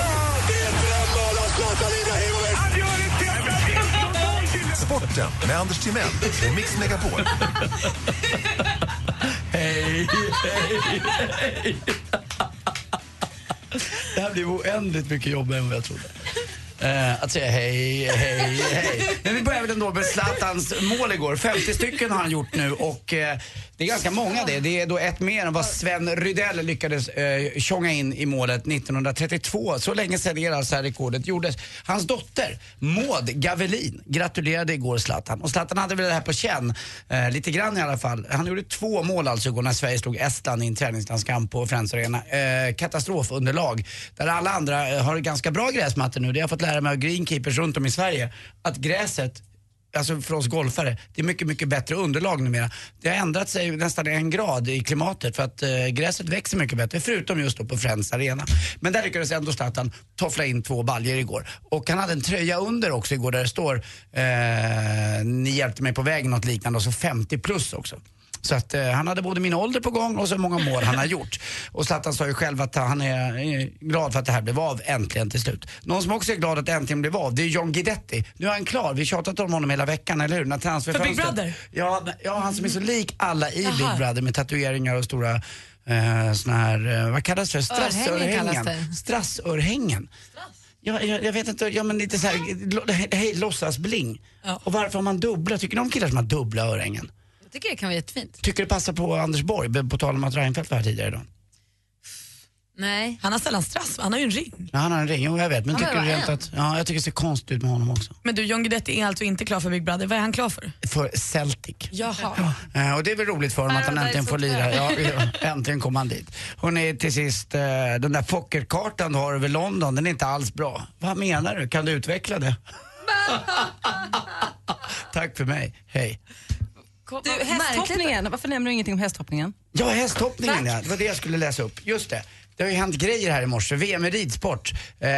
Speaker 8: Sporten med Anders Timell och Mix Megapol.
Speaker 3: Hej, hej, hej. Det här blev oändligt mycket jobb än vad jag trodde. Eh, att säga hej, hej, hej. Men vi börjar väl ändå med Zlatans mål igår. 50 stycken har han gjort nu och eh, det är ganska många det. Det är då ett mer än vad Sven Rydell lyckades eh, tjonga in i målet 1932. Så länge sedan är det alltså här rekordet gjordes. Hans dotter Maud Gavelin gratulerade igår Zlatan. Och Zlatan hade väl det här på känn, eh, lite grann i alla fall. Han gjorde två mål alltså igår när Sverige slog Estland i en träningslandskamp på Friends Arena. Eh, katastrofunderlag. Där alla andra eh, har ganska bra gräsmattor nu. Det har jag fått lära mig av greenkeepers runt om i Sverige. Att gräset Alltså för oss golfare, det är mycket, mycket bättre underlag numera. Det har ändrat sig nästan en grad i klimatet för att eh, gräset växer mycket bättre, förutom just då på Friends Arena. Men där lyckades ändå Zlatan toffla in två baljer igår. Och han hade en tröja under också igår där det står eh, “Ni hjälpte mig på vägen” något liknande och så 50 plus också. Så att eh, han hade både min ålder på gång och så många mål han har gjort. Och Zlatan sa ju själv att han är eh, glad för att det här blev av äntligen till slut. Någon som också är glad att det äntligen blev av, det är John Guidetti. Nu är han klar, vi har tjatat om honom hela veckan, eller hur? När transferfönstret-
Speaker 4: För Big Brother?
Speaker 3: Ja, n- ja, han som är så lik alla i
Speaker 4: Jaha.
Speaker 3: Big Brother med tatueringar och stora eh, såna här, eh, vad kallas det?
Speaker 1: Örhängen kallas det.
Speaker 3: Strassörhängen. Ja, jag, jag vet inte, ja men lite såhär, hej låtsas-bling. Och varför har man dubbla? Tycker ni om killar som har dubbla örhängen?
Speaker 1: Jag tycker det kan vara jättefint.
Speaker 3: Tycker du passar på Anders Borg, på tal om att Reinfeldt var här tidigare idag?
Speaker 1: Nej.
Speaker 4: Han har sällan strass, han har ju en ring.
Speaker 3: Ja, han har en ring, jo jag vet. Men
Speaker 4: Han har
Speaker 3: tycker du
Speaker 4: ju bara
Speaker 3: rent
Speaker 4: en.
Speaker 3: att, ja, jag tycker det ser konstigt ut med honom också.
Speaker 4: Men du, John Guidetti är alltså inte klar för Big Brother. Vad är han klar för?
Speaker 3: För Celtic.
Speaker 4: Jaha.
Speaker 3: Eh, Och det är väl roligt för honom att han
Speaker 4: Paradise
Speaker 3: äntligen får
Speaker 4: Hotel.
Speaker 3: lira. Ja, ja, äntligen kom han dit. Hon är till sist, eh, den där Fokkerkartan du har över London, den är inte alls bra. Vad menar du? Kan du utveckla det? Tack för mig, hej.
Speaker 5: Du, hästhoppningen. Varför nämner du ingenting om hästhoppningen?
Speaker 3: Ja, hästhoppningen ja. Det var det jag skulle läsa upp. Just det. Det har ju hänt grejer här i morse. VM i ridsport. Eh, det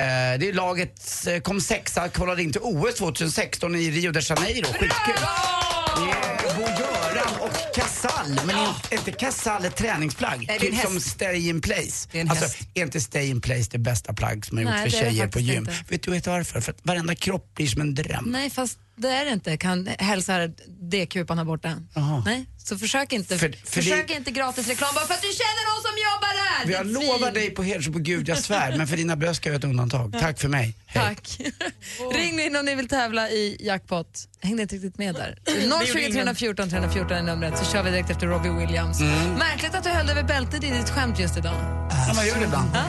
Speaker 3: är laget eh, kom sexa, kvalade in till OS 2016 i Rio de Janeiro. Skitkul. Det är Bo-Göran och Casall, men är inte Casall ett träningsplagg?
Speaker 13: Nej, det är en
Speaker 3: typ som
Speaker 13: häst.
Speaker 3: Stay in place.
Speaker 13: Det är en
Speaker 3: alltså,
Speaker 13: häst.
Speaker 3: är inte Stay in place det bästa plagg som har gjorts
Speaker 1: Nej,
Speaker 3: för
Speaker 1: det är det
Speaker 3: tjejer på
Speaker 1: faktiskt
Speaker 3: gym?
Speaker 1: inte.
Speaker 3: Vet du vet du varför? För att varenda kropp blir som en dröm.
Speaker 1: Nej, fast det är det inte. Kan hälsa D-kupan här borta. Nej, så försök inte,
Speaker 3: För- för
Speaker 1: försök
Speaker 3: det-
Speaker 1: inte gratis reklam bara för att du känner någon som jobbar där.
Speaker 3: Vi Jag lovar dig på heder så på gud jag svär, men för dina bröst ska jag göra ett undantag.
Speaker 1: Ja.
Speaker 3: Tack för mig.
Speaker 1: Tack. Ring nu in om ni vill tävla i jackpot. Hängde inte riktigt med där.
Speaker 13: Det gjorde
Speaker 1: 020
Speaker 13: ingen.
Speaker 1: 314 314 är numret så kör vi direkt efter Robbie Williams.
Speaker 13: Mm.
Speaker 1: Märkligt att du höll över bältet i ditt skämt just idag.
Speaker 3: Ja, man gör det ibland.
Speaker 1: Ja.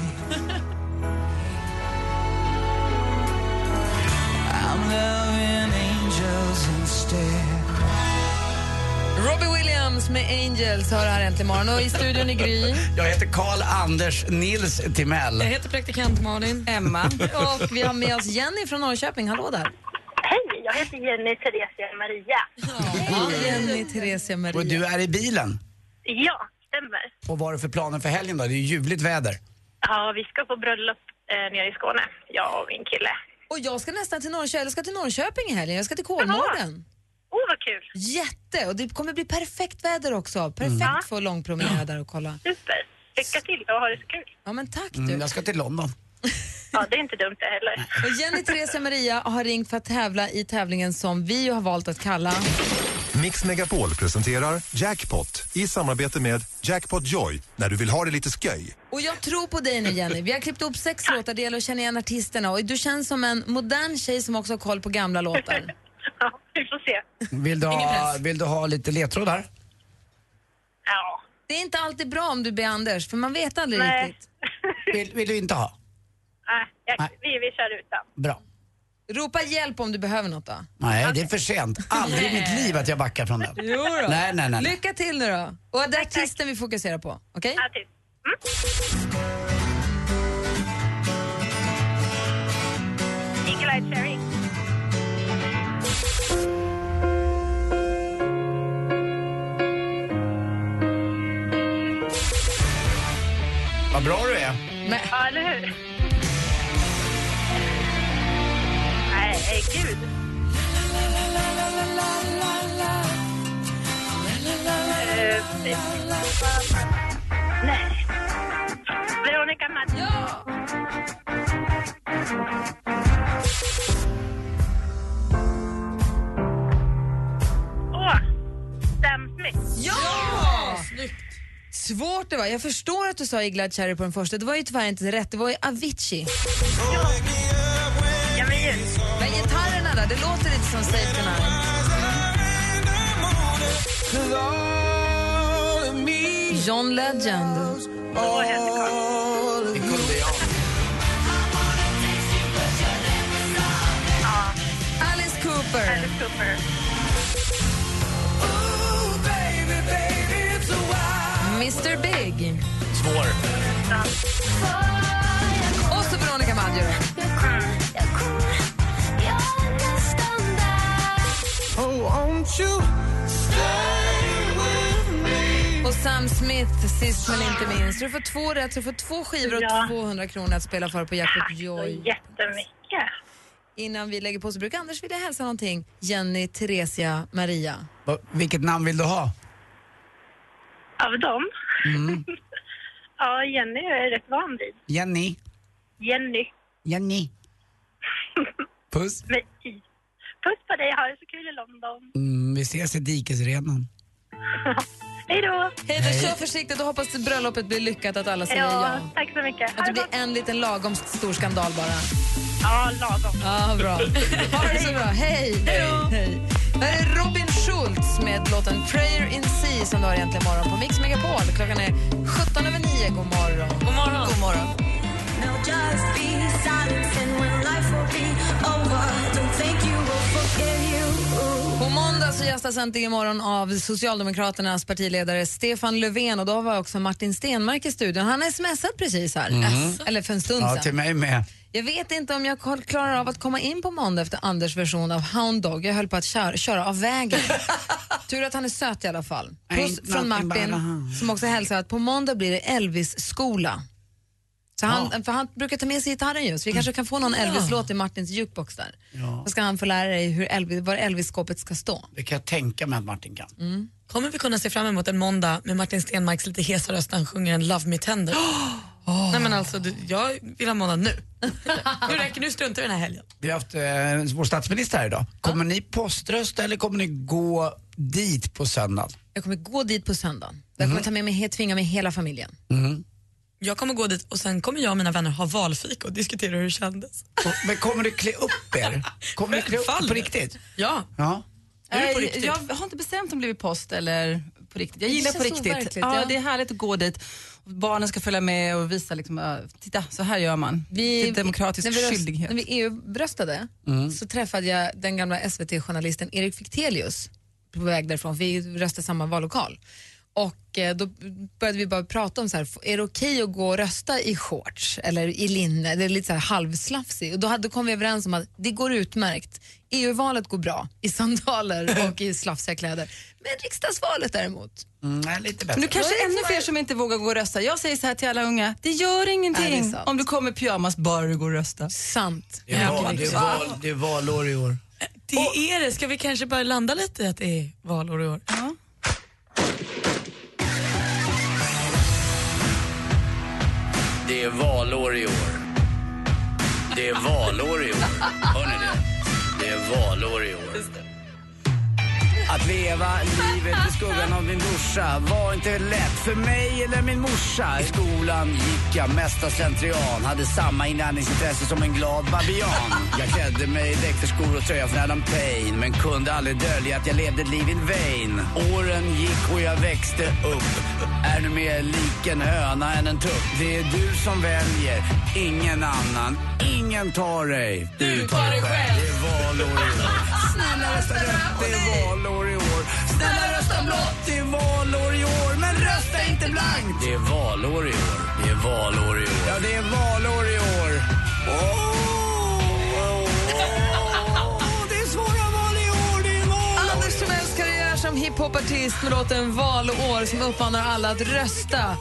Speaker 1: Robbie Williams med Angels hör här äntligen morgon och i studion i Gry.
Speaker 3: Jag heter Karl Anders Nils Timell.
Speaker 4: Jag heter praktikant Malin.
Speaker 1: Emma. Och vi har med oss Jenny från Norrköping. Hallå där.
Speaker 12: Hej, jag heter Jenny Theresia Maria.
Speaker 1: Jenny Theresia Maria.
Speaker 3: Och du är i bilen.
Speaker 12: Ja, stämmer.
Speaker 3: Och vad är det för planer för helgen då? Det är ju ljuvligt väder.
Speaker 12: Ja, vi ska på bröllop eh, nere i Skåne, jag och min kille.
Speaker 1: Och jag ska nästan till Norrköping, jag ska till Norrköping i helgen. Jag ska till Kolmården.
Speaker 12: Åh, oh, vad kul!
Speaker 1: Jätte! Och det kommer bli perfekt väder också. Perfekt
Speaker 12: Mm.
Speaker 1: för långpromenader och kolla.
Speaker 12: Super! Lycka till och ha det så kul.
Speaker 1: Ja, men tack
Speaker 3: Mm,
Speaker 1: du.
Speaker 3: jag ska till London.
Speaker 12: Ja, det är inte dumt det heller.
Speaker 1: Och Jenny Theresia Maria har ringt för att tävla i tävlingen som vi har valt att kalla
Speaker 8: Mix Megapol presenterar Jackpot i samarbete med Jackpot Joy när du vill ha det lite sköj.
Speaker 1: Och jag tror på dig nu Jenny. Vi har klippt upp sex låtar, det gäller att känna igen artisterna och du känns som en modern tjej som också har koll på gamla låtar.
Speaker 12: Ja, vi får se.
Speaker 3: Vill du ha, vill du ha lite ledtrådar?
Speaker 12: Ja.
Speaker 1: Det är inte alltid bra om du ber Anders, för man vet aldrig
Speaker 12: Nej.
Speaker 1: riktigt.
Speaker 3: Vill, vill du inte ha?
Speaker 12: Nej, jag, vi, vi kör utan.
Speaker 3: Bra.
Speaker 1: Ropa hjälp om du behöver något då.
Speaker 3: Nej, det är för sent. Aldrig i mitt liv att jag backar från den.
Speaker 1: Jo då.
Speaker 3: Nej, nej, nej. nej.
Speaker 1: Lycka till nu då. Och det är artisten vi fokuserar på. Okej?
Speaker 12: Hmm? Eagle Eye Cherry.
Speaker 3: Vad bra du är.
Speaker 12: Ja, eller hur? Nej, eh, gud. Eh, Nej. Veronica Maggio. Åh, Sam Smith.
Speaker 1: Svårt det var. Jag förstår att du sa Iglad Cherry på den första. Det var ju tyvärr inte rätt. Det var ju Avicii.
Speaker 12: Ja, men ju.
Speaker 1: Men gitarrerna där, det låter lite som Safe Tonight. John Legend. Alice Cooper.
Speaker 12: Alice Cooper.
Speaker 1: Mr Big.
Speaker 8: Svår.
Speaker 1: Och så Veronica Maggio. Och Sam Smith, sist men inte minst. Du får två rätt, så du får två skivor och
Speaker 12: Ja. Ah,
Speaker 1: 200 kronor att spela för på Jackpot Joy.
Speaker 12: Jättemycket.
Speaker 1: Innan vi lägger på så brukar Anders vilja hälsa någonting. Jenny, Theresia, Maria.
Speaker 3: Va- Vilket namn vill du ha?
Speaker 12: Av dem?
Speaker 1: Mm.
Speaker 12: Ja, Jenny är jag rätt van vid.
Speaker 3: Jenny.
Speaker 12: Jenny.
Speaker 3: Jenny. Puss.
Speaker 12: Med i. Puss på dig, ha det så kul i London.
Speaker 3: Mm, vi ses i dikesrenan.
Speaker 12: Hej då!
Speaker 1: Hej då, kör försiktigt och hoppas att bröllopet blir lyckat, att alla säger ja.
Speaker 12: Ja, tack så mycket.
Speaker 1: Att det blir en liten lagom stor skandal bara.
Speaker 12: Ja, lagom.
Speaker 1: Ja, bra. Ha det så bra. Hej! Hej. Här är Robin Schultz med låten Prayer in Sea som du har egentligen morgon på Mix Megapol. Klockan är 17 över 9. God morgon. God morgon. God morgon. På måndag så gästas äntligen imorgon av Socialdemokraternas partiledare Stefan Löfven och då var också Martin Stenmark i studion. Han har smsat precis här,
Speaker 3: Mhm.
Speaker 1: eller för en stund
Speaker 3: Ja,
Speaker 1: sedan.
Speaker 3: till mig med.
Speaker 1: Jag vet inte om jag kol- klarar av att komma in på måndag efter Anders version av Hound Dog. Jag höll på att köra, köra av vägen. Tur att han är söt i alla fall. Puss
Speaker 3: Ain't
Speaker 1: från
Speaker 3: nothing
Speaker 1: Martin
Speaker 3: but a hound.
Speaker 1: som också hälsar att på måndag blir det Elvis-skola. Så han, för han brukar ta med sig gitarren ju, så vi kanske kan få någon
Speaker 3: Ja.
Speaker 1: Elvis-låt i Martins jukebox där.
Speaker 3: Ja.
Speaker 1: Då ska han få lära dig hur Elvis, var Elvis-skåpet ska stå.
Speaker 3: Det kan jag tänka mig att Martin kan.
Speaker 4: Kommer vi kunna se fram emot en måndag med Martin Stenmarks lite hesa röst när han sjunger en Love Me Tender? Nej men alltså, du, jag vill ha en månad nu. nu räcker nu struntar vi den här helgen.
Speaker 3: Vi har haft eh, vår statsminister här idag. Kommer ni poströsta eller kommer ni gå dit på söndagen?
Speaker 1: Jag kommer gå dit på söndagen. Jag kommer
Speaker 3: Mhm.
Speaker 1: ta med mig, he- tvinga med hela familjen.
Speaker 4: Jag kommer gå dit och sen kommer jag och mina vänner ha valfika och diskutera hur det kändes.
Speaker 3: Men kommer du klä upp er? Kommer ni klä upp er på riktigt?
Speaker 4: Ja.
Speaker 3: Ja.
Speaker 4: Är det på
Speaker 5: Eh,
Speaker 4: riktigt?
Speaker 5: Jag har inte bestämt om det blir post eller på riktigt. Jag
Speaker 1: Det
Speaker 5: gillar på
Speaker 1: känns
Speaker 5: riktigt.
Speaker 1: overkligt,
Speaker 5: Ja,
Speaker 1: ja.
Speaker 5: Det är härligt att gå dit. Barnen ska följa med och visa liksom, eh, titta så här gör man. det är demokratisk
Speaker 1: när vi röst-
Speaker 5: skyldighet.
Speaker 1: När vi EU-bröstade
Speaker 5: Mm.
Speaker 1: så träffade jag den gamla SVT-journalisten Erik Fichtelius på väg därifrån, för vi röstade i samma vallokal. Och eh, då började vi bara prata om så här, f- är det okej att gå och rösta i shorts eller i linne, eller lite så här halvslafsig? Och då, hade, då kom vi överens om att det går utmärkt. EU-valet går bra i sandaler och i slafsiga kläder. Men riksdagsvalet däremot,
Speaker 3: Mm, nej, lite
Speaker 5: Men
Speaker 3: bättre.
Speaker 5: nu kanske ännu fler som inte vågar gå och rösta. Jag säger så här till alla unga, det gör ingenting
Speaker 1: Nej, det är sant.
Speaker 5: om du kommer i pyjamas bara du går och röstar.
Speaker 1: Sant.
Speaker 3: Det är, val, det,
Speaker 5: liksom-
Speaker 3: är val, det är valår i år.
Speaker 4: Det är det. Ska vi kanske bara landa lite i att det är valår i år?
Speaker 14: Det är valår i år. Det är valår i år. Hör ni det? Det är valår i år.
Speaker 3: Att leva livet i skuggan av min brorsa var inte lätt för mig eller min morsa. I skolan gick jag mesta slentrian. Hade samma inlärningsintresse som en glad babian. Jag klädde mig i läktarskor och tröja från Adam Payne. Men kunde aldrig dölja att jag levde ett liv in vain. Åren gick och jag växte upp. Är nu mer lik en höna än en tupp. Det är du som väljer, ingen annan. Ingen tar dig. Du tar dig själv. Det är valår i år. Snälla rösta rött, det är valår i år. Snälla rösta blått, det är valår i år. Men rösta inte blankt. Det är valår i år. Det är valår i år. Ja, det är valår i år. Åh, det är svåra val i år. Det är valår.
Speaker 1: Anders Timells karriär som hiphopartist med låten Valår som uppmanar alla att rösta.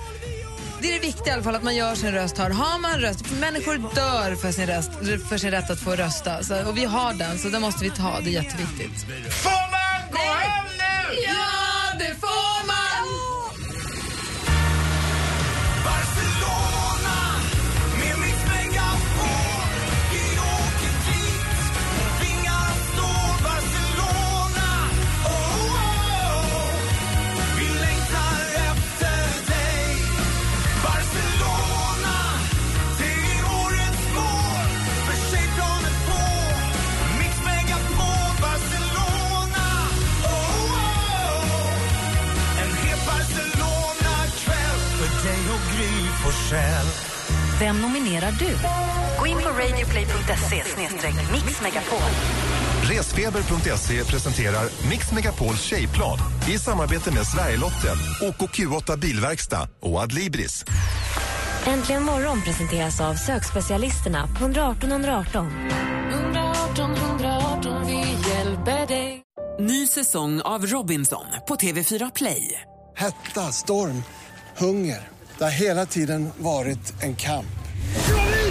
Speaker 1: Det är det viktiga i alla fall, att man gör sin röst hörd. Har man röst, människor dör för sin, röst, för sin rätt att få rösta. Så, och vi har den, så den måste vi ta. Det är jätteviktigt.
Speaker 3: Får man gå hem nu?
Speaker 17: Ja, det får man!
Speaker 3: Barcelona med Mix Megapol. Vi åker dit och vingar står Barcelona. Oh, oh, oh. Vi längtar efter dig. Barcelona, det är årets mål. För sig från ett mål. Mix Megapol, Barcelona. Oh, oh, oh. En het Barcelona-kväll för dig och Gry Forssell.
Speaker 1: Vem nominerar du? Gå in på radioplay.se mixmegapol.
Speaker 8: Resfeber.se E presenterar Mix Megapols tjejplan i samarbete med Sverigelotten, OKQ8 Bilverkstad och Adlibris.
Speaker 1: Äntligen morgon presenteras av sökspecialisterna på 118 118.
Speaker 9: 118 118, vi hjälper dig.
Speaker 13: Ny säsong av Robinson på TV4 Play.
Speaker 18: Hetta, storm, hunger. Det har hela tiden varit en kamp.